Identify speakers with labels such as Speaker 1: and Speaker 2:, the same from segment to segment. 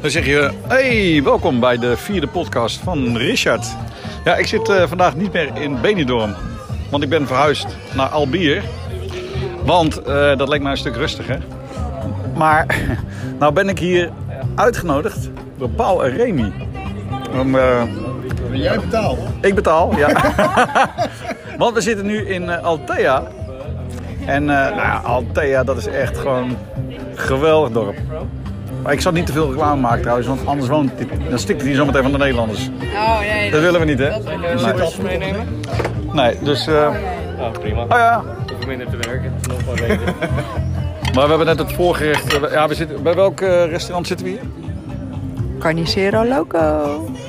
Speaker 1: Dan zeg je, hey, welkom bij de vierde podcast van Richard. Ja, ik zit eh, vandaag niet meer in Benidorm, want ik ben verhuisd naar Albier. Want eh, dat leek mij een stuk rustiger. Maar nou ben ik hier uitgenodigd door Paul en Remy. Om, eh,
Speaker 2: Jij betaalt.
Speaker 1: ik betaal, ja. Want we zitten nu in eh, Altea. En eh, nou ja, Altea, dat is echt gewoon een geweldig dorp. Maar ik zal niet te veel reclame maken trouwens, want anders woont dit, dan stikt het hier zometeen van de Nederlanders.
Speaker 3: Oh nee,
Speaker 1: Dat willen we niet, hè?
Speaker 3: Zit
Speaker 1: Nee,
Speaker 4: meenemen?
Speaker 1: nee dus... eh,
Speaker 4: Oh, prima.
Speaker 1: oh ja,
Speaker 4: Ik hoef minder te werken. Nog wel beter.
Speaker 1: maar we hebben net het voorgerecht... eh, ja, we zitten, bij welk eh, restaurant zitten we hier?
Speaker 3: Carnicero Loco.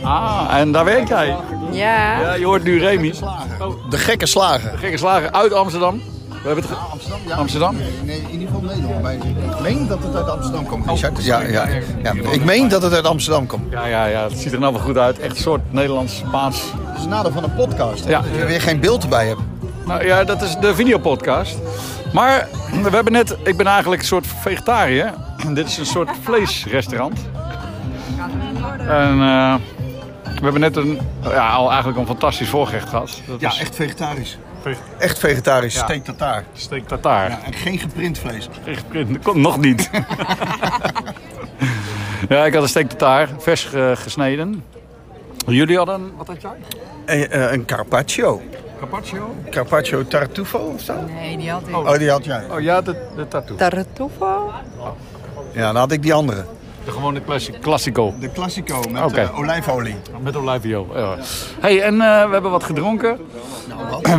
Speaker 1: Ah, en daar werk jij.
Speaker 3: Ja.
Speaker 1: Ja, je hoort nu Remy.
Speaker 2: De gekke slager.
Speaker 1: Gekke slager uit Amsterdam. We hebben het ge-
Speaker 2: Amsterdam? Ja.
Speaker 1: Amsterdam?
Speaker 2: Nee, in ieder geval Nederland. Maar ik meen dat het uit Amsterdam komt. Richard. Oh, Ja, ja, ja. Ik meen dat het uit Amsterdam komt.
Speaker 1: Ja, ja, ja, het ziet er nou wel goed uit. Echt een soort Nederlands, Spaans,
Speaker 2: Dat is het nadeel van een podcast. hè,
Speaker 1: Ja.
Speaker 2: Dat je weer geen beeld erbij hebt.
Speaker 1: Nou ja, dat is de videopodcast. Maar we hebben net, ik ben eigenlijk een soort vegetariër. Dit is een soort vleesrestaurant. En eh, we hebben net een, ja, al eigenlijk een fantastisch voorgerecht gehad. Dat is
Speaker 2: echt vegetarisch. Echt vegetarisch. Steak tartaar.
Speaker 1: steak tartaar.
Speaker 2: Ja, en geen geprint vlees.
Speaker 1: Echt print, dat komt nog niet. ja, ik had een steak tartaar, vers eh, gesneden. Jullie hadden, wat had jij?
Speaker 2: eh, een carpaccio.
Speaker 1: Carpaccio?
Speaker 2: Carpaccio tartufo of zo?
Speaker 3: Nee, die had ik.
Speaker 2: Oh, die had jij.
Speaker 1: Oh ja, de, de tattoo.
Speaker 3: Tartufo?
Speaker 2: Ja, dan had ik die andere.
Speaker 1: De gewone classic, classico.
Speaker 2: De classico met
Speaker 1: Oké.
Speaker 2: eh, olijfolie.
Speaker 1: Met olijfolie. Ja. Hey, en eh, we hebben wat gedronken.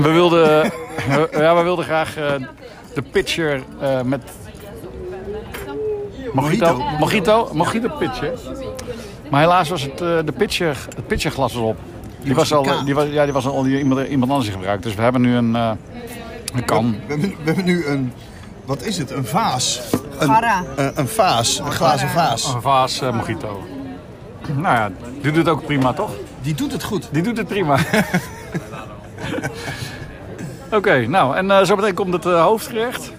Speaker 1: we wilden, we- ja, we wilden graag eh, de pitcher eh, met mojito,
Speaker 2: Mojito.
Speaker 1: mojito, mojito pitcher. Maar helaas was het eh, de pitcher, het pitcherglas was op. Die was al, die was, ja, die was al die iemand, iemand anders in gebruikt. Dus we hebben nu een, eh, een kan.
Speaker 2: We hebben, we hebben nu een... Wat is het? Een vaas. Een, eh,
Speaker 3: Garra.
Speaker 2: Een, een vaas. Een glazen vaas.
Speaker 1: Een vaas eh, mojito. Nou ja, die doet het ook prima, toch?
Speaker 2: Die doet het goed.
Speaker 1: Die doet het prima. Oké, nou, en eh, zo zometeen komt het eh, hoofdgerecht.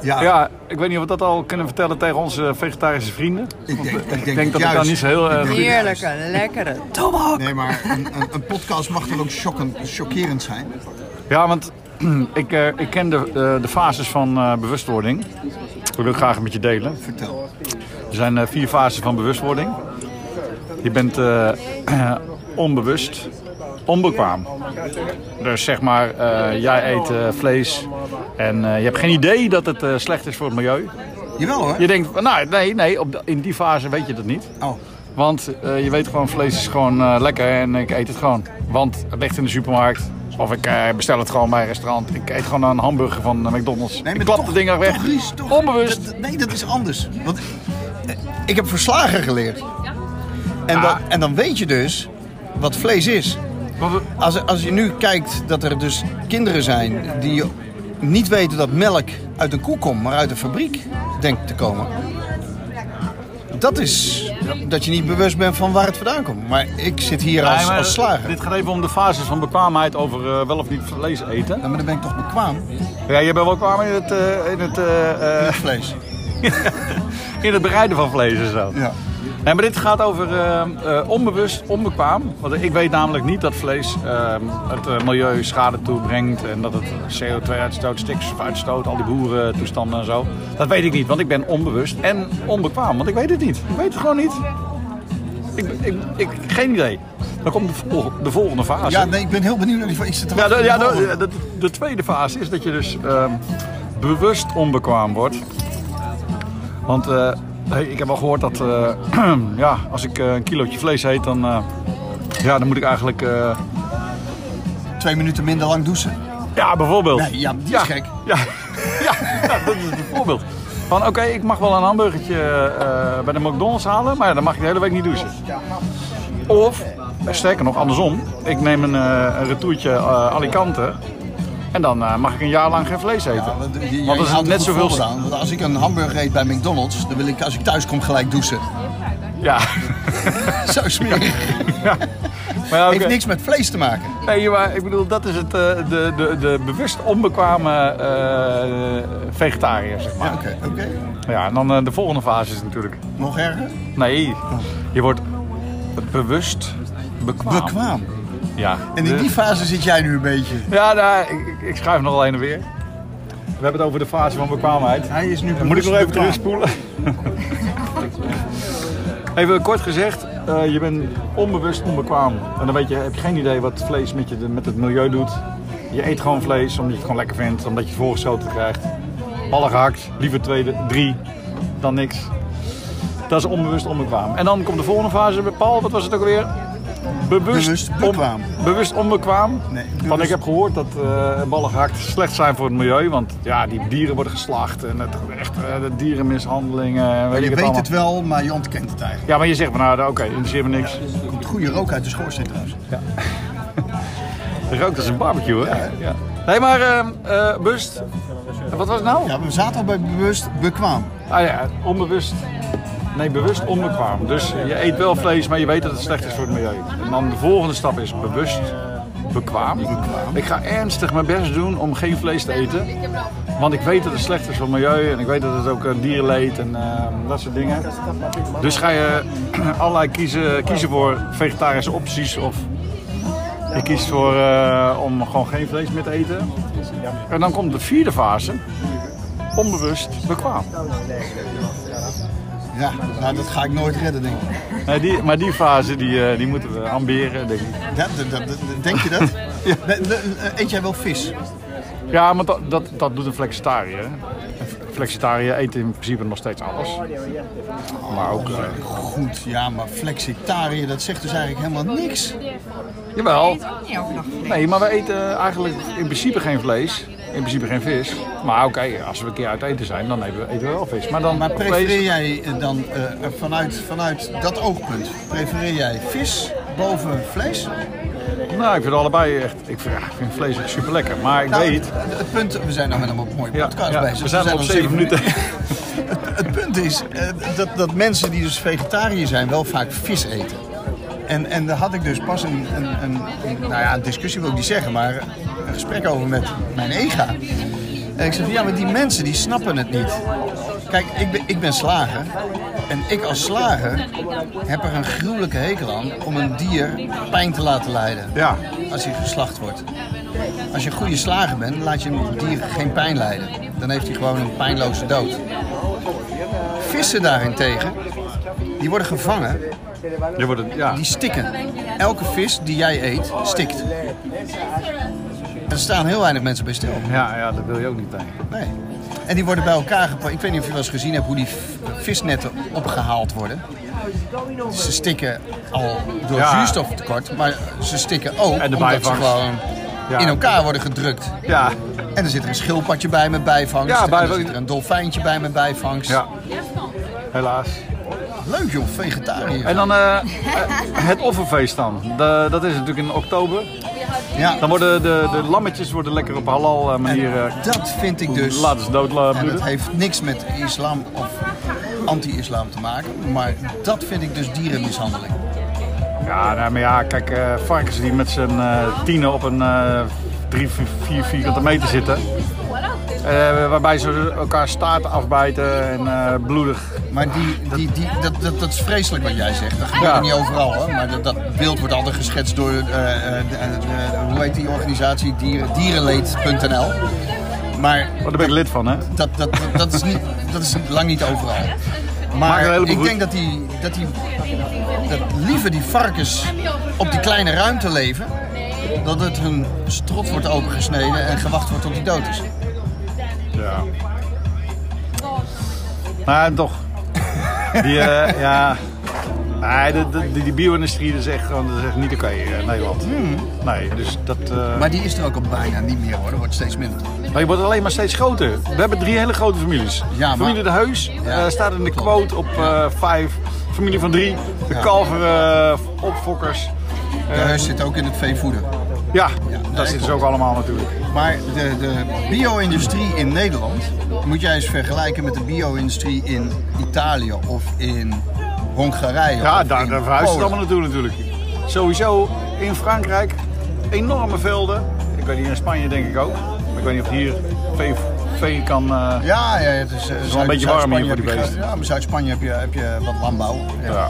Speaker 1: Ja, ik weet niet of we dat al kunnen vertellen tegen onze vegetarische vrienden.
Speaker 2: Ik denk, ik
Speaker 1: Ik
Speaker 2: denk,
Speaker 1: denk
Speaker 2: het
Speaker 1: dat ik daar
Speaker 2: juist.
Speaker 1: niet zo heel... eh,
Speaker 3: Heerlijke, lekkere. Tomahawk.
Speaker 2: Nee, maar een, een, een podcast mag dan ook shocken- chockerend zijn.
Speaker 1: Ja, want ik, eh, ik ken de, eh, de fases van eh, bewustwording. Dat wil ik graag met je delen.
Speaker 2: Vertel.
Speaker 1: Er zijn eh, vier fases van bewustwording. Je bent eh, onbewust, onbekwaam. Dus zeg maar, eh, jij eet eh, vlees en eh, je hebt geen idee dat het eh, slecht is voor het milieu.
Speaker 2: Jawel hoor.
Speaker 1: Je denkt, nou nee, nee op de- in die fase weet je dat niet.
Speaker 2: Oh,
Speaker 1: Want eh, je weet gewoon, vlees is gewoon eh, lekker en ik eet het gewoon. Want het ligt in de supermarkt. Of ik eh, bestel het gewoon bij een restaurant. Ik eet gewoon een hamburger van de McDonald's.
Speaker 2: nee,
Speaker 1: ik
Speaker 2: maar
Speaker 1: klap
Speaker 2: toch-
Speaker 1: de dingen weg.
Speaker 2: toch is- toch-
Speaker 1: Onbewust.
Speaker 2: dat- nee, dat is anders. Want eh, ik heb verslagen geleerd. En, dan, en dan weet je dus wat vlees is.
Speaker 1: Want we-
Speaker 2: Als, als je nu kijkt dat er dus kinderen zijn die niet weten dat melk uit een koe komt, maar uit een fabriek denkt te komen. Dat is dat je niet bewust bent van waar het vandaan komt. Maar ik zit hier als,
Speaker 1: Nee, maar
Speaker 2: als slager.
Speaker 1: Dit gaat even om de fases van bekwaamheid over eh, wel of niet vlees eten.
Speaker 2: Ja, maar dan ben ik toch bekwaam
Speaker 1: Ja, je bent wel kwaam in het, eh, in het, eh, eh,
Speaker 2: met vlees.
Speaker 1: in het bereiden van vlees en zo.
Speaker 2: Ja.
Speaker 1: Nee, maar dit gaat over eh, eh, onbewust, onbekwaam. Want ik weet namelijk niet dat vlees eh, het eh, milieu schade toebrengt. En dat het CO2-uitstoot, stikstofuitstoot, al die boerentoestanden en zo. Dat weet ik niet, want ik ben onbewust en onbekwaam. Want ik weet het niet. Ik weet het gewoon niet. Ik, ik, ik, geen idee. Dan komt de, vol- de volgende fase.
Speaker 2: Ja, nee, ik ben heel benieuwd naar die. Ik zit te
Speaker 1: Ja, de,
Speaker 2: wachten
Speaker 1: ja,
Speaker 2: op de
Speaker 1: de,
Speaker 2: volgende.
Speaker 1: de, de tweede fase is dat je dus ehm, bewust onbekwaam wordt. Want eh, hey, ik heb al gehoord dat eh, ja, als ik eh, een kilootje vlees eet, dan, eh, ja, dan moet ik eigenlijk... eh,
Speaker 2: twee minuten minder lang douchen.
Speaker 1: ja, bijvoorbeeld.
Speaker 2: Nee, ja, die is gek.
Speaker 1: Ja, ja, ja, dat is een voorbeeld. Van oké, ik mag wel een hamburgertje eh, bij de McDonald's halen, maar dan mag ik de hele week niet douchen. Of, eh, sterker nog, andersom. Ik neem een, eh, een retourtje eh, Alicante en dan eh, mag ik een jaar lang geen vlees eten.
Speaker 2: Ja, want, je- je
Speaker 1: Want dat is
Speaker 2: haalt
Speaker 1: net
Speaker 2: een goed
Speaker 1: zoveel...
Speaker 2: voorbeeld aan. Want als ik een hamburger eet bij McDonald's, dan wil ik als ik thuis kom gelijk douchen.
Speaker 1: Ja.
Speaker 2: Zo smerig.
Speaker 1: ja. Maar ja, oké.
Speaker 2: Heeft niks met vlees te maken.
Speaker 1: Nee, maar ik bedoel, dat is het, eh, de, de, de bewust onbekwame eh vegetariër, zeg maar.
Speaker 2: Ja, Oké, oké.
Speaker 1: Ja, en dan eh, de volgende fase is natuurlijk...
Speaker 2: Nog erger?
Speaker 1: Nee, je wordt bewust bekwaam.
Speaker 2: Bekwaam.
Speaker 1: Ja.
Speaker 2: En in
Speaker 1: De-
Speaker 2: die fase zit jij nu een beetje.
Speaker 1: Ja, nou, ik, ik- ik schuif nog alleen en weer. We hebben het over de fase van bekwaamheid.
Speaker 2: Hij is nu
Speaker 1: Moet ik nog
Speaker 2: bewust
Speaker 1: even terugspoelen? even kort gezegd, eh, je bent onbewust onbekwaam. En dan weet je, heb je geen idee wat vlees met, je, met het milieu doet. Je eet gewoon vlees omdat je het gewoon lekker vindt, omdat je het voorgeschoten krijgt. Ballen gehakt, liever tweede, drie, dan niks. Dat is onbewust onbekwaam. En dan komt de volgende fase bij Paul, wat was het ook alweer? Bewust,
Speaker 2: Bewust
Speaker 1: on-
Speaker 2: bekwaam.
Speaker 1: bewust onbekwaam.
Speaker 2: Nee,
Speaker 1: Want
Speaker 2: bewust-
Speaker 1: ik heb gehoord dat eh, ballen gehakt slecht zijn voor het milieu. Want ja, die dieren worden geslacht en het, echt eh, de dierenmishandelingen. en weet
Speaker 2: Je
Speaker 1: ik
Speaker 2: weet
Speaker 1: allemaal.
Speaker 2: het wel, maar je ontkent het eigenlijk.
Speaker 1: Ja, maar je zegt van nou, oké, interesseert me niks.
Speaker 2: Er komt goede rook uit de schoorsteen trouwens.
Speaker 1: Het Rookt als een barbecue, hè? Ja. Nee, maar eh, eh, bewust. Wat was het nou?
Speaker 2: Ja, we zaten al bij bewust bekwaam.
Speaker 1: Ah ja, onbewust. Nee, bewust onbekwaam. Dus je eet wel vlees, maar je weet dat het slecht is voor het milieu. En dan de volgende stap is bewust bekwaam. Ik ga ernstig mijn best doen om geen vlees te eten. Want ik weet dat het slecht is voor het milieu en ik weet dat het ook eh, dierenleed en eh, dat soort dingen. Dus ga je allerlei kiezen, kiezen voor vegetarische opties of je kiest voor eh, om gewoon geen vlees meer te eten. En dan komt de vierde fase, onbewust bekwaam.
Speaker 2: Ja, nou, dat ga ik nooit redden, denk ik.
Speaker 1: Nee, die, maar die fase die, eh, die moeten we ambiëren, denk ik.
Speaker 2: Ja, dat, dat- dat- denk je dat? Ben- ben- Eet jij wel vis?
Speaker 1: Ja, maar dat, dat, dat doet een flexitariër. hè. Een flexitariër eet in principe nog steeds alles. Maar ook... eh,
Speaker 2: Goed, ja, maar flexitariër, dat zegt dus eigenlijk helemaal niks.
Speaker 1: jawel.
Speaker 3: Niet overdag.
Speaker 1: Nee, maar we eten eigenlijk in principe geen vlees. In principe geen vis. Maar oké, als we een keer uit eten zijn, dan eten we, eten we wel vis. Maar dan
Speaker 2: Maar prefereer
Speaker 1: vlees...
Speaker 2: jij eh, dan eh, vanuit, vanuit dat oogpunt, prefereer jij vis boven vlees?
Speaker 1: Nou, ik vind allebei echt... Ik vind, ja, ik vind vlees echt super lekker. Maar ik
Speaker 2: Nou,
Speaker 1: weet...
Speaker 2: Het, het punt, we zijn nou met een mooie
Speaker 1: Ja,
Speaker 2: podcast
Speaker 1: ja,
Speaker 2: bezig.
Speaker 1: we zijn al op
Speaker 2: al
Speaker 1: zeven minuten.
Speaker 2: Het punt is eh, dat, dat mensen die dus vegetariër zijn wel vaak vis eten. En, en daar had ik dus pas een, een, een, een- nou ja, een discussie wil ik niet zeggen, maar een gesprek over met mijn ega. En ik zei van ja, maar die mensen die snappen het niet. Kijk, ik ben, ik ben slager. En ik als slager heb er een gruwelijke hekel aan om een dier pijn te laten lijden
Speaker 1: Ja.
Speaker 2: als hij geslacht wordt. Als je een goede slager bent, laat je een dier geen pijn lijden. Dan heeft hij gewoon een pijnloze dood. Vissen daarentegen, die worden gevangen,
Speaker 1: Je wordt een, ja.
Speaker 2: die stikken. Elke vis die jij eet, stikt. Er staan heel weinig mensen bij stil.
Speaker 1: Ja, ja, dat wil je ook niet tegen.
Speaker 2: Nee. En die worden bij elkaar gepakt. Ik weet niet of je wel eens gezien hebt hoe die v- visnetten opgehaald worden. Ze stikken al door
Speaker 1: Ja.
Speaker 2: zuurstoftekort, maar ze stikken ook
Speaker 1: En de
Speaker 2: omdat ze
Speaker 1: bijvangst.
Speaker 2: gewoon
Speaker 1: Ja.
Speaker 2: in elkaar worden gedrukt.
Speaker 1: Ja,
Speaker 2: En er zit er een schildpadje bij met bijvangst.
Speaker 1: Ja, bij-
Speaker 2: en er zit er een dolfijntje bij met bijvangst.
Speaker 1: ja. Helaas.
Speaker 2: Leuk joh, vegetariër.
Speaker 1: En dan eh, eh, het offerfeest dan. De- dat is natuurlijk in oktober.
Speaker 2: ja,
Speaker 1: Dan worden de, de lammetjes worden lekker op halal eh, manier eh,
Speaker 2: dat vind ik dus...
Speaker 1: laten ze dood eh,
Speaker 2: En dat
Speaker 1: bloeden.
Speaker 2: heeft niks met islam of anti-islam te maken. Maar dat vind ik dus dierenmishandeling.
Speaker 1: Ja, nou, maar ja, kijk, eh, varkens die met z'n eh, tienen op een eh, drie, vier, vier vierkante meter zitten. Eh, waarbij ze elkaar staarten afbijten en eh, bloedig.
Speaker 2: Maar die, die, die, dat, dat, dat is vreselijk wat jij zegt. Dat gebeurt
Speaker 1: Ja.
Speaker 2: niet overal. Hoor. Maar dat, dat beeld wordt altijd geschetst door, eh, eh, de- eh, de- hoe heet die organisatie? Dieren, dierenleed.nl. Maar
Speaker 1: Oh, daar ben ik lid van, hè?
Speaker 2: dat, dat, dat, dat is niet, dat is lang niet overal.
Speaker 1: een
Speaker 2: Maar
Speaker 1: heleboel
Speaker 2: ik
Speaker 1: goed.
Speaker 2: denk dat die, dat die dat liever die varkens op die kleine ruimte leven, dat het hun strot wordt opengesneden en gewacht wordt tot die dood is.
Speaker 1: Ja. Maar toch. Die, eh, ja. Nee, de, de- die, die bio-industrie dat is echt, gewoon- dat is echt niet oké eh, in Nederland. Nee, dus dat. eh,
Speaker 2: Hmm. Maar die is er ook al bijna niet meer hoor, dat wordt steeds minder.
Speaker 1: Maar je wordt alleen maar steeds groter. We hebben drie hele grote families.
Speaker 2: Ja, maar-
Speaker 1: Familie de Heus eh, staat in de quote op eh, vijf. Familie van drie. De
Speaker 2: Ja.
Speaker 1: kalveren, eh, opfokkers.
Speaker 2: De huis zit ook in het veevoeden.
Speaker 1: Ja,
Speaker 2: Ja,
Speaker 1: dat
Speaker 2: nee,
Speaker 1: zitten ze ook allemaal natuurlijk.
Speaker 2: Maar de, de bio-industrie in Nederland moet jij eens vergelijken met de bio-industrie in Italië of in Hongarije.
Speaker 1: Ja,
Speaker 2: of
Speaker 1: daar,
Speaker 2: in
Speaker 1: daar verhuizen ze
Speaker 2: Polen.
Speaker 1: allemaal naartoe natuurlijk. Sowieso in Frankrijk enorme velden. Ik weet niet, in Spanje denk ik ook. Maar ik weet niet of hier vee, vee kan... eh,
Speaker 2: Ja, ja het is, eh,
Speaker 1: een
Speaker 2: Zuid-
Speaker 1: beetje warm
Speaker 2: Zuid-Spanje
Speaker 1: hier voor
Speaker 2: heb
Speaker 1: die
Speaker 2: je-
Speaker 1: beesten.
Speaker 2: Ja, maar Zuid-Spanje heb je, heb je wat landbouw. Ja.
Speaker 1: Ja.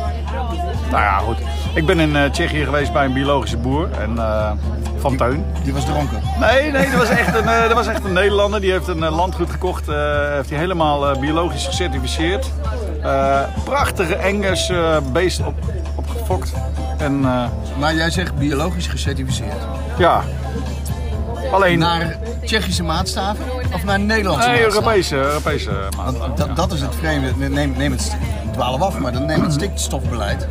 Speaker 1: Nou ja, goed. Ik ben in eh, Tsjechië geweest bij een biologische boer. En, eh, van Teun.
Speaker 2: Die was dronken.
Speaker 1: Nee, nee, dat was echt een, eh, dat was echt een Nederlander. Die heeft een eh, landgoed gekocht. eh, heeft hij helemaal eh, biologisch gecertificeerd. Eh, prachtige Engels eh, beest op, opgefokt. En eh,
Speaker 2: Maar jij zegt biologisch gecertificeerd.
Speaker 1: ja, alleen
Speaker 2: Naar Tsjechische maatstaven of naar Nederlandse
Speaker 1: nee,
Speaker 2: maatstaven?
Speaker 1: Europese, Europese maat.
Speaker 2: Want dat, dat is het vreemde. Neem, neem het, st- ik dwaal af, maar dan neem het stikstofbeleid.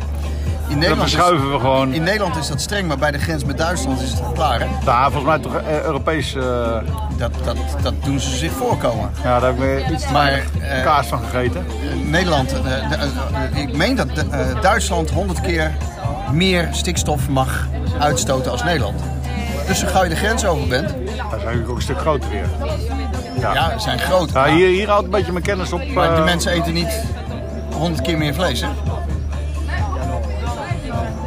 Speaker 2: In
Speaker 1: Dat
Speaker 2: Nederland, is,
Speaker 1: verschuiven we gewoon.
Speaker 2: in Nederland is dat streng, maar bij de grens met Duitsland is het klaar. Hè?
Speaker 1: Daar, volgens mij toch eh, Europees. eh,
Speaker 2: Dat, dat, dat doen ze zich voorkomen.
Speaker 1: ja, daar heb ik weer iets
Speaker 2: Maar
Speaker 1: te-
Speaker 2: eh,
Speaker 1: kaas van gegeten.
Speaker 2: Nederland, eh, de- eh, ik meen dat eh, Duitsland 100 keer meer stikstof mag uitstoten als Nederland. Dus zo gauw je de grens over bent,
Speaker 1: Daar zijn we ook een stuk groter weer.
Speaker 2: ja, ze zijn groot.
Speaker 1: Ja,
Speaker 2: maar-
Speaker 1: hier, hier houdt een beetje mijn kennis op.
Speaker 2: Maar de
Speaker 1: eh,
Speaker 2: mensen eten niet 100 keer meer vlees, hè?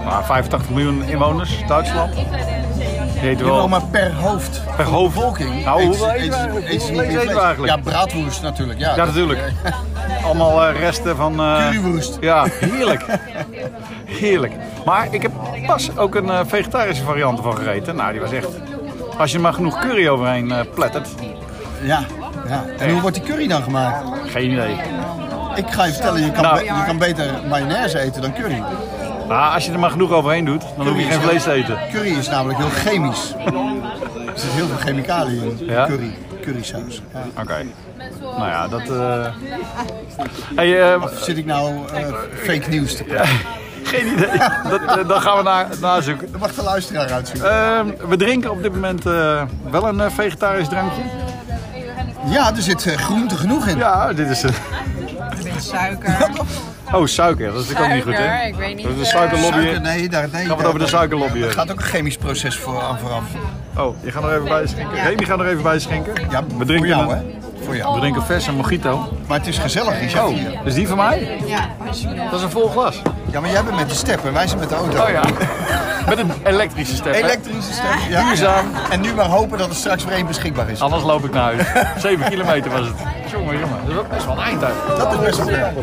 Speaker 1: maar 85 miljoen inwoners, Duitsland. Die eten
Speaker 2: Jawel,
Speaker 1: wel.
Speaker 2: maar per hoofd.
Speaker 1: Per hoofd.
Speaker 2: Bevolking.
Speaker 1: Nou,
Speaker 2: eten
Speaker 1: hoeveel
Speaker 2: ze-
Speaker 1: eten we
Speaker 2: eten ze-
Speaker 1: eigenlijk?
Speaker 2: eten ze
Speaker 1: Hoeveel
Speaker 2: niet meer
Speaker 1: eten we
Speaker 2: vlees.
Speaker 1: eigenlijk?
Speaker 2: Ja, braadwoest natuurlijk. Ja,
Speaker 1: Ja, natuurlijk. Allemaal eh, resten van... eh,
Speaker 2: Currywoest.
Speaker 1: Ja, heerlijk. Heerlijk. Maar ik heb pas ook een eh, vegetarische variant ervan gegeten. Nou, die was echt... Als je er maar genoeg curry overheen eh plettert.
Speaker 2: Ja, ja. En hoe wordt die curry dan gemaakt?
Speaker 1: Geen idee.
Speaker 2: Ik ga je vertellen, je kan,
Speaker 1: Nou.
Speaker 2: be- je kan beter mayonaise eten dan curry.
Speaker 1: Nou, als je er maar genoeg overheen doet, dan hoef je geen vlees te eten.
Speaker 2: Curry is namelijk heel chemisch. er zit heel veel chemicaliën in
Speaker 1: Ja?
Speaker 2: curry. Currysaus. Ja.
Speaker 1: Oké. Nou ja, dat... eh, Hey, eh,
Speaker 2: Of Zit ik nou eh, fake nieuws te praten?
Speaker 1: geen idee. Dat, eh, dat gaan we na, nazoeken.
Speaker 2: Dat mag de luisteraar uitzoeken.
Speaker 1: Ehm, we drinken op dit moment eh, wel een eh, vegetarisch drankje.
Speaker 2: Ja, er zit eh, groente genoeg in.
Speaker 1: Ja, dit is... eh,
Speaker 3: Met suiker.
Speaker 1: Oh, suiker. Dat is natuurlijk ook niet goed,
Speaker 3: Suiker,
Speaker 1: hè?
Speaker 3: ik weet niet,
Speaker 1: Dat is de
Speaker 3: eh,
Speaker 1: suikerlobby.
Speaker 2: Suiker, nee, daar, nee,
Speaker 1: Gaan we het over de suikerlobby
Speaker 2: Er
Speaker 1: hebben?
Speaker 2: gaat ook een chemisch proces voor, aan vooraf.
Speaker 1: Oh, je gaat er even bij schenken. Remy gaat er even bij schenken.
Speaker 2: Ja,
Speaker 1: we
Speaker 2: voor
Speaker 1: drinken
Speaker 2: jou,
Speaker 1: een,
Speaker 2: hè? Voor
Speaker 1: We
Speaker 2: jou.
Speaker 1: drinken vers en mojito.
Speaker 2: Maar het is gezellig, Richard.
Speaker 1: Oh,
Speaker 2: hier.
Speaker 1: is die van mij?
Speaker 3: Ja, alsjeblieft.
Speaker 1: Dat is een vol glas.
Speaker 2: Ja, maar jij bent met de step en wij zijn met de auto.
Speaker 1: Oh ja. Met een elektrische step. hè?
Speaker 2: Elektrische step. Ja,
Speaker 1: Duurzaam.
Speaker 2: ja. En nu maar hopen dat er straks weer één beschikbaar is.
Speaker 1: Anders loop ik naar huis. 7 kilometer was het. Jongen, jongen. Dat is ook best wel een eind uit.
Speaker 2: Dat is best wel ver.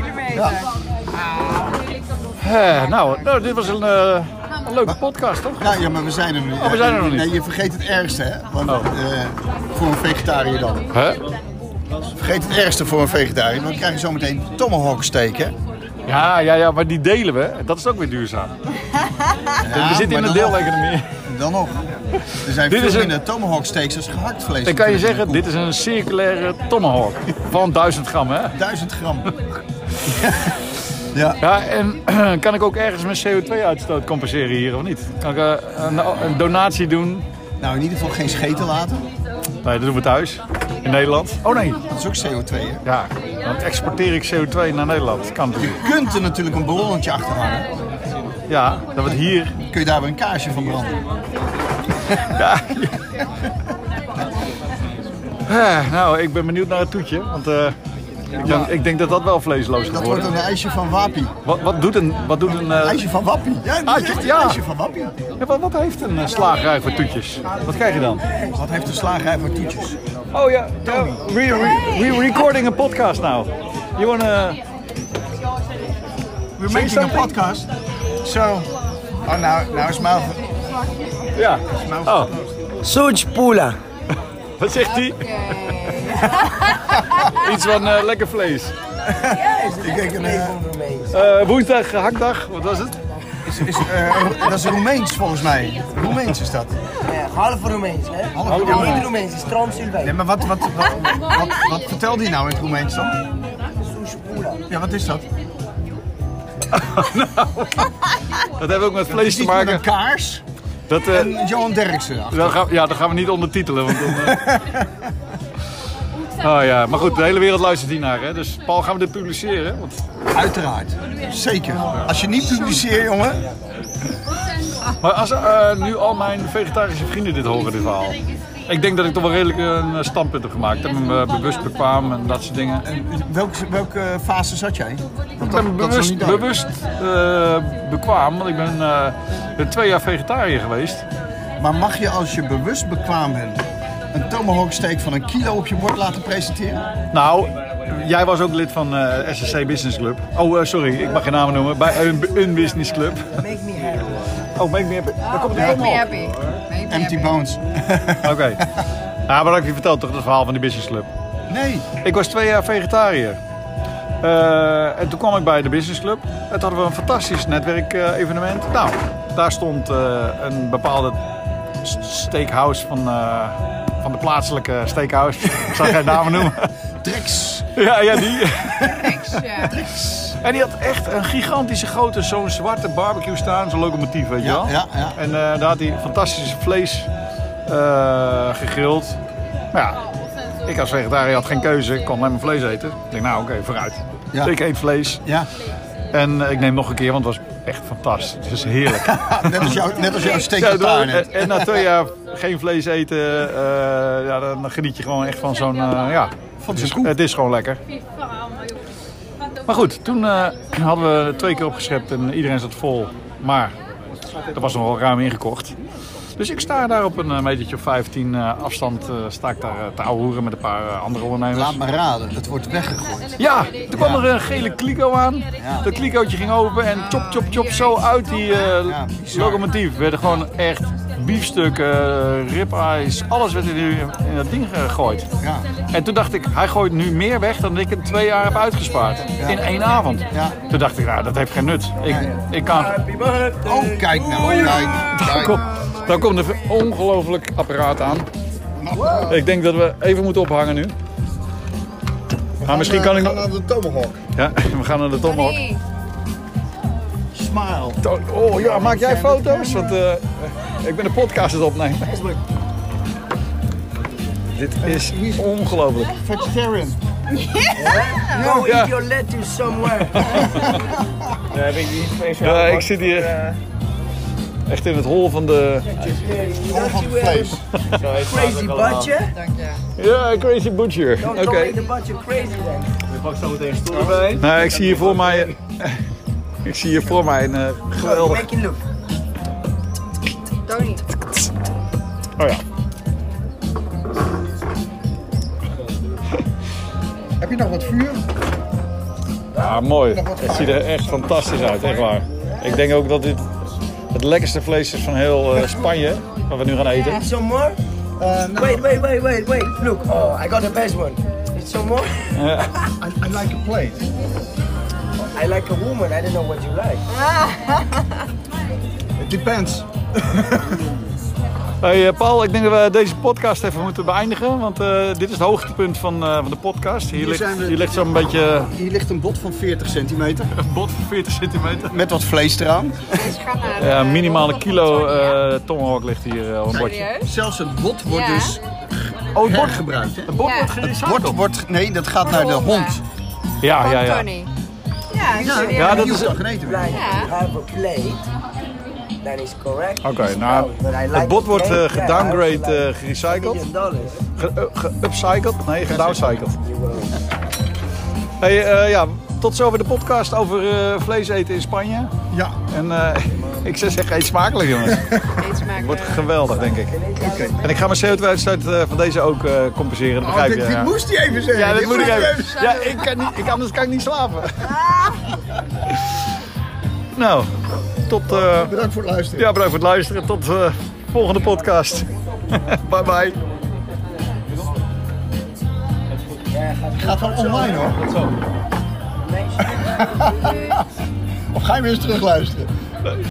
Speaker 1: Eh, nou, nou, dit was een, eh, een leuke podcast, toch?
Speaker 2: Nou ja, maar we zijn er nu.
Speaker 1: Oh, we zijn er nog niet.
Speaker 2: Nee, je vergeet het ergste, hè? Want,
Speaker 1: Oh.
Speaker 2: eh, voor een vegetariër dan.
Speaker 1: Hè?
Speaker 2: Vergeet het ergste voor een vegetariër. Want dan krijg je zometeen tomahawk steak, hè?
Speaker 1: Ja, ja, ja, maar die delen we. Dat is ook weer duurzaam. we zitten in
Speaker 2: maar
Speaker 1: een
Speaker 2: dan-
Speaker 1: deeleconomie.
Speaker 2: Dan nog. Er zijn
Speaker 1: Dit
Speaker 2: veel
Speaker 1: is een-
Speaker 2: minder tomahawk steaks als gehakt vlees.
Speaker 1: Dan kan je
Speaker 2: natuurlijk in
Speaker 1: zeggen,
Speaker 2: een
Speaker 1: dit is een circulaire tomahawk. Van 1000 gram, hè?
Speaker 2: koek. 1000 gram. ja.
Speaker 1: Ja, en kan ik ook ergens mijn CO2-uitstoot compenseren hier of niet? Kan ik eh, een, een donatie doen?
Speaker 2: Nou, in ieder geval geen scheten laten.
Speaker 1: Nee, dat doen we thuis. In Nederland. Oh nee.
Speaker 2: Dat is ook CO2, hè?
Speaker 1: Ja, dan exporteer ik CO2 naar Nederland. Kan natuurlijk.
Speaker 2: Je kunt er natuurlijk een ballonnetje achter hangen.
Speaker 1: Ja, dat wordt hier.
Speaker 2: Kun je daar weer een kaarsje van branden?
Speaker 1: Eh, nou, ik ben benieuwd naar het toetje. Want eh, ik, denk, ik denk dat dat wel vleesloos gaat
Speaker 2: Dat wordt
Speaker 1: worden.
Speaker 2: een ijsje van Wapi.
Speaker 1: Wat, wat doet een. Wat, doet een eh,
Speaker 2: Ijsje van Wappie. Ja, dat is echt een
Speaker 1: ja.
Speaker 2: ijsje van Wappie.
Speaker 1: ja, wat, wat heeft een eh, slagerij voor toetjes? Wat krijg je dan?
Speaker 2: Wat heeft de slagerij voor toetjes?
Speaker 1: Oh ja, ja, we, we, we recording a podcast now. You wanna.
Speaker 2: We're
Speaker 1: making a
Speaker 2: podcast. So, oh, nou, nou is maar...
Speaker 1: Ja. Oh,
Speaker 5: Suj Pula.
Speaker 1: wat zegt hij? Iets van eh, lekker vlees.
Speaker 2: Ik denk een... eh,
Speaker 1: Eh, woensdag, hakdag, wat was het?
Speaker 2: is, is, eh, dat is Roemeens volgens mij. Roemeens is dat.
Speaker 5: Half Roemeens, hè? Half
Speaker 1: Roemeens.
Speaker 5: Niet Roemeens, het is Transylvijn.
Speaker 2: Nee, maar wat, wat, wat, wat, wat vertelde hij nou in het Roemeens dan?
Speaker 5: Suj Pula.
Speaker 2: Ja, wat is dat? Het
Speaker 1: Dat heeft ook met vlees
Speaker 2: is
Speaker 1: te
Speaker 2: iets met een
Speaker 1: maken.
Speaker 2: kaars
Speaker 1: Dat, eh,
Speaker 2: en Johan Derksen. erachter.
Speaker 1: dat gaan, we- ja, dat gaan we niet ondertitelen. Want dan, eh. Oh ja, maar goed, de hele wereld luistert hiernaar. Hè? Dus Paul, gaan we dit publiceren? Want
Speaker 2: Uiteraard. Zeker. Als je niet publiceert, jongen.
Speaker 1: Maar als eh, nu al mijn vegetarische vrienden dit horen, dit verhaal. Ik denk dat ik toch wel redelijk een eh, standpunt heb gemaakt. Ik ben me eh, bewust bekwaam en dat soort dingen.
Speaker 2: eh, Welke, welke fase zat jij?
Speaker 1: Ik
Speaker 2: Want
Speaker 1: ben
Speaker 2: dat is nog
Speaker 1: bewust,
Speaker 2: niet duidelijk.
Speaker 1: bewust eh, bekwaam, want ik ben, eh, ben twee jaar vegetariër geweest.
Speaker 2: Maar mag je als je bewust bekwaam bent een tomahawksteak van een kilo op je bord laten presenteren?
Speaker 1: Nou, jij was ook lid van eh SSC Business Club. Oh, eh, sorry, ik mag geen namen noemen. Bij een, een business club.
Speaker 5: Make me happy.
Speaker 1: Oh, ben ik meer... Daar komt het
Speaker 3: Make me
Speaker 1: helemaal op.
Speaker 3: happy. Make me
Speaker 2: Empty
Speaker 3: happy.
Speaker 2: bones.
Speaker 1: Oké. Ja, maar dat heb ik je verteld toch, dat verhaal van die business club.
Speaker 2: Nee.
Speaker 1: Ik was twee jaar vegetariër. Eh, en toen kwam ik bij de Business Club. En toen hadden we een fantastisch netwerkevenement. Nou, daar stond eh, een bepaalde s- steakhouse van, eh, van de plaatselijke steakhouse. Ik zal geen namen noemen.
Speaker 2: Drex.
Speaker 1: ja, ja, die.
Speaker 3: Niks, ja.
Speaker 1: En die had echt een gigantische grote, zo'n zwarte barbecue staan. Zo'n locomotief, weet je
Speaker 2: Ja,
Speaker 1: wel.
Speaker 2: ja, ja.
Speaker 1: En eh, daar had hij fantastische vlees eh, gegrild. Nou ja, ik als vegetariër had geen keuze. Ik kon alleen maar vlees eten. Ik denk, nou oké, vooruit.
Speaker 2: Ja.
Speaker 1: Ik eet vlees.
Speaker 2: Ja,
Speaker 1: En eh, ik neem nog een keer, want het was echt fantastisch. Het is heerlijk.
Speaker 2: Ah, net als, jou, net als jouw steak
Speaker 1: Ja,
Speaker 2: dat daar
Speaker 1: en,
Speaker 2: net.
Speaker 1: en na twee jaar geen vlees eten, eh, ja, dan geniet je gewoon echt van zo'n... eh, ja,
Speaker 2: Van
Speaker 1: het
Speaker 2: zijn
Speaker 1: is,
Speaker 2: koek.
Speaker 1: het is gewoon lekker. Maar goed, toen eh, hadden we twee keer opgeschept en iedereen zat vol. Maar er was nog wel ruim ingekocht. Dus ik sta daar op een eh, metertje of 15 eh, afstand eh, sta ik daar eh, te ouwehoeren met een paar eh, andere ondernemers.
Speaker 2: Laat maar raden, het wordt weggegooid.
Speaker 1: Ja, toen kwam er een gele kliko aan. Dat klikootje ging open en chop, chop, chop, zo uit die eh,
Speaker 2: Ja, bizar.
Speaker 1: locomotief. werden gewoon echt biefstukken, ribeyes, alles werd in, die- in dat ding gegooid.
Speaker 2: Ja.
Speaker 1: En toen dacht ik, hij gooit nu meer weg dan ik in twee jaar heb uitgespaard. In één avond.
Speaker 2: Ja.
Speaker 1: Toen dacht ik, nou, dat heeft geen nut. Ik, ik kan...
Speaker 2: Oh, kijk nou, kijk.
Speaker 1: Daar,
Speaker 2: kijk.
Speaker 1: kom- daar komt een ongelooflijk apparaat aan. Ik denk dat we even moeten ophangen nu. Maar misschien kan ik nog...
Speaker 2: Aan de tomahawk.
Speaker 1: Ja, we gaan naar de tomhok.
Speaker 3: Nee.
Speaker 2: Smile.
Speaker 1: To- Oh ja, maak jij foto's? Want eh, ik ben de podcast aan het opnemen. Dit is ongelooflijk.
Speaker 2: Vegetarian.
Speaker 1: Ja.
Speaker 5: No, eat your lettuce somewhere.
Speaker 4: Daar heb ik niet speciaal.
Speaker 1: Ja, ik zit hier echt in het hol van de...
Speaker 2: Gewoon van het vlees.
Speaker 5: Crazy badje.
Speaker 3: Dank je.
Speaker 1: Ja, Crazy Butcher. Oké.
Speaker 5: Don't make the badje crazy then.
Speaker 4: Ik pak zo meteen stoel erbij.
Speaker 1: Nou, ik zie hier voor mij... Ik zie hier voor mij een eh, geweldig...
Speaker 5: Make it look.
Speaker 3: Tony.
Speaker 1: Oh ja.
Speaker 2: Heb je nog wat vuur?
Speaker 1: Ja, Ah, mooi. Het ziet er echt fantastisch uit, echt waar. Ik denk ook dat dit het lekkerste vlees is van heel eh, Spanje, wat we nu gaan eten.
Speaker 5: Some more? Wait, wait, wait, wait, wait. Look, oh, I got the best one. It's some more?
Speaker 2: I, I like a plate.
Speaker 5: I like a woman. I don't know what you like.
Speaker 2: It depends.
Speaker 1: Hey eh, Paul, ik denk dat we deze podcast even moeten beëindigen, want eh, dit is het hoogtepunt van, eh, van de podcast. Hier,
Speaker 2: zijn
Speaker 1: ligt,
Speaker 2: we.
Speaker 1: hier ligt zo'n beetje
Speaker 2: Hier ligt een bot van 40 centimeter.
Speaker 1: een bot van 40 centimeter.
Speaker 2: Met wat vlees eraan.
Speaker 3: Dus ga naar de-
Speaker 1: Ja, minimaal een kilo
Speaker 3: Tony, ja.
Speaker 1: eh tomahawk ligt hier eh, op een bordje.
Speaker 3: Serieus?
Speaker 2: Zelfs het bot wordt
Speaker 3: Ja.
Speaker 2: dus
Speaker 1: Oh, het bord,
Speaker 2: hergebruikt. hè?
Speaker 1: het bord
Speaker 3: Ja.
Speaker 1: wordt gerecycled.
Speaker 2: Bord wordt, nee, dat gaat naar de hond.
Speaker 1: Ja,
Speaker 3: Van
Speaker 1: ja, ja.
Speaker 3: Tony. Ja, serieus.
Speaker 1: Nou, Ja, dat
Speaker 2: Die
Speaker 1: is...
Speaker 2: hoeft dan
Speaker 1: Oké,
Speaker 2: geen eten meer.
Speaker 5: Like,
Speaker 3: Yeah.
Speaker 5: you have a plate. That is correct.
Speaker 1: nou, het bot wordt eh, gedowngraded, eh, gerecycled.
Speaker 5: Million dollars.
Speaker 1: Ge- eh, Geupcycled? Nee, gedowncycled. Hey, eh, ja, tot zover de podcast over eh, vlees eten in Spanje.
Speaker 2: Ja,
Speaker 1: En eh, ik zou zeggen, eet smakelijk jongens.
Speaker 3: Iets maken.
Speaker 1: Wordt geweldig, denk ik. En ik ga mijn CO2-uitstoot eh, van deze ook eh, compenseren, dat begrijp je.
Speaker 2: dit, dit
Speaker 1: ja.
Speaker 2: moest hij even zeggen.
Speaker 1: eh, Ja, dat
Speaker 2: Dit
Speaker 1: moet ik
Speaker 2: moest hij
Speaker 1: even. Ja, ik kan niet, ik, anders kan ik niet slapen. Nou, tot... eh,
Speaker 2: Bedankt voor het luisteren.
Speaker 1: ja, bedankt voor het luisteren. Tot de volgende podcast. bye bye.
Speaker 2: Gaat wel online hoor. Of ga je weer eens terugluisteren?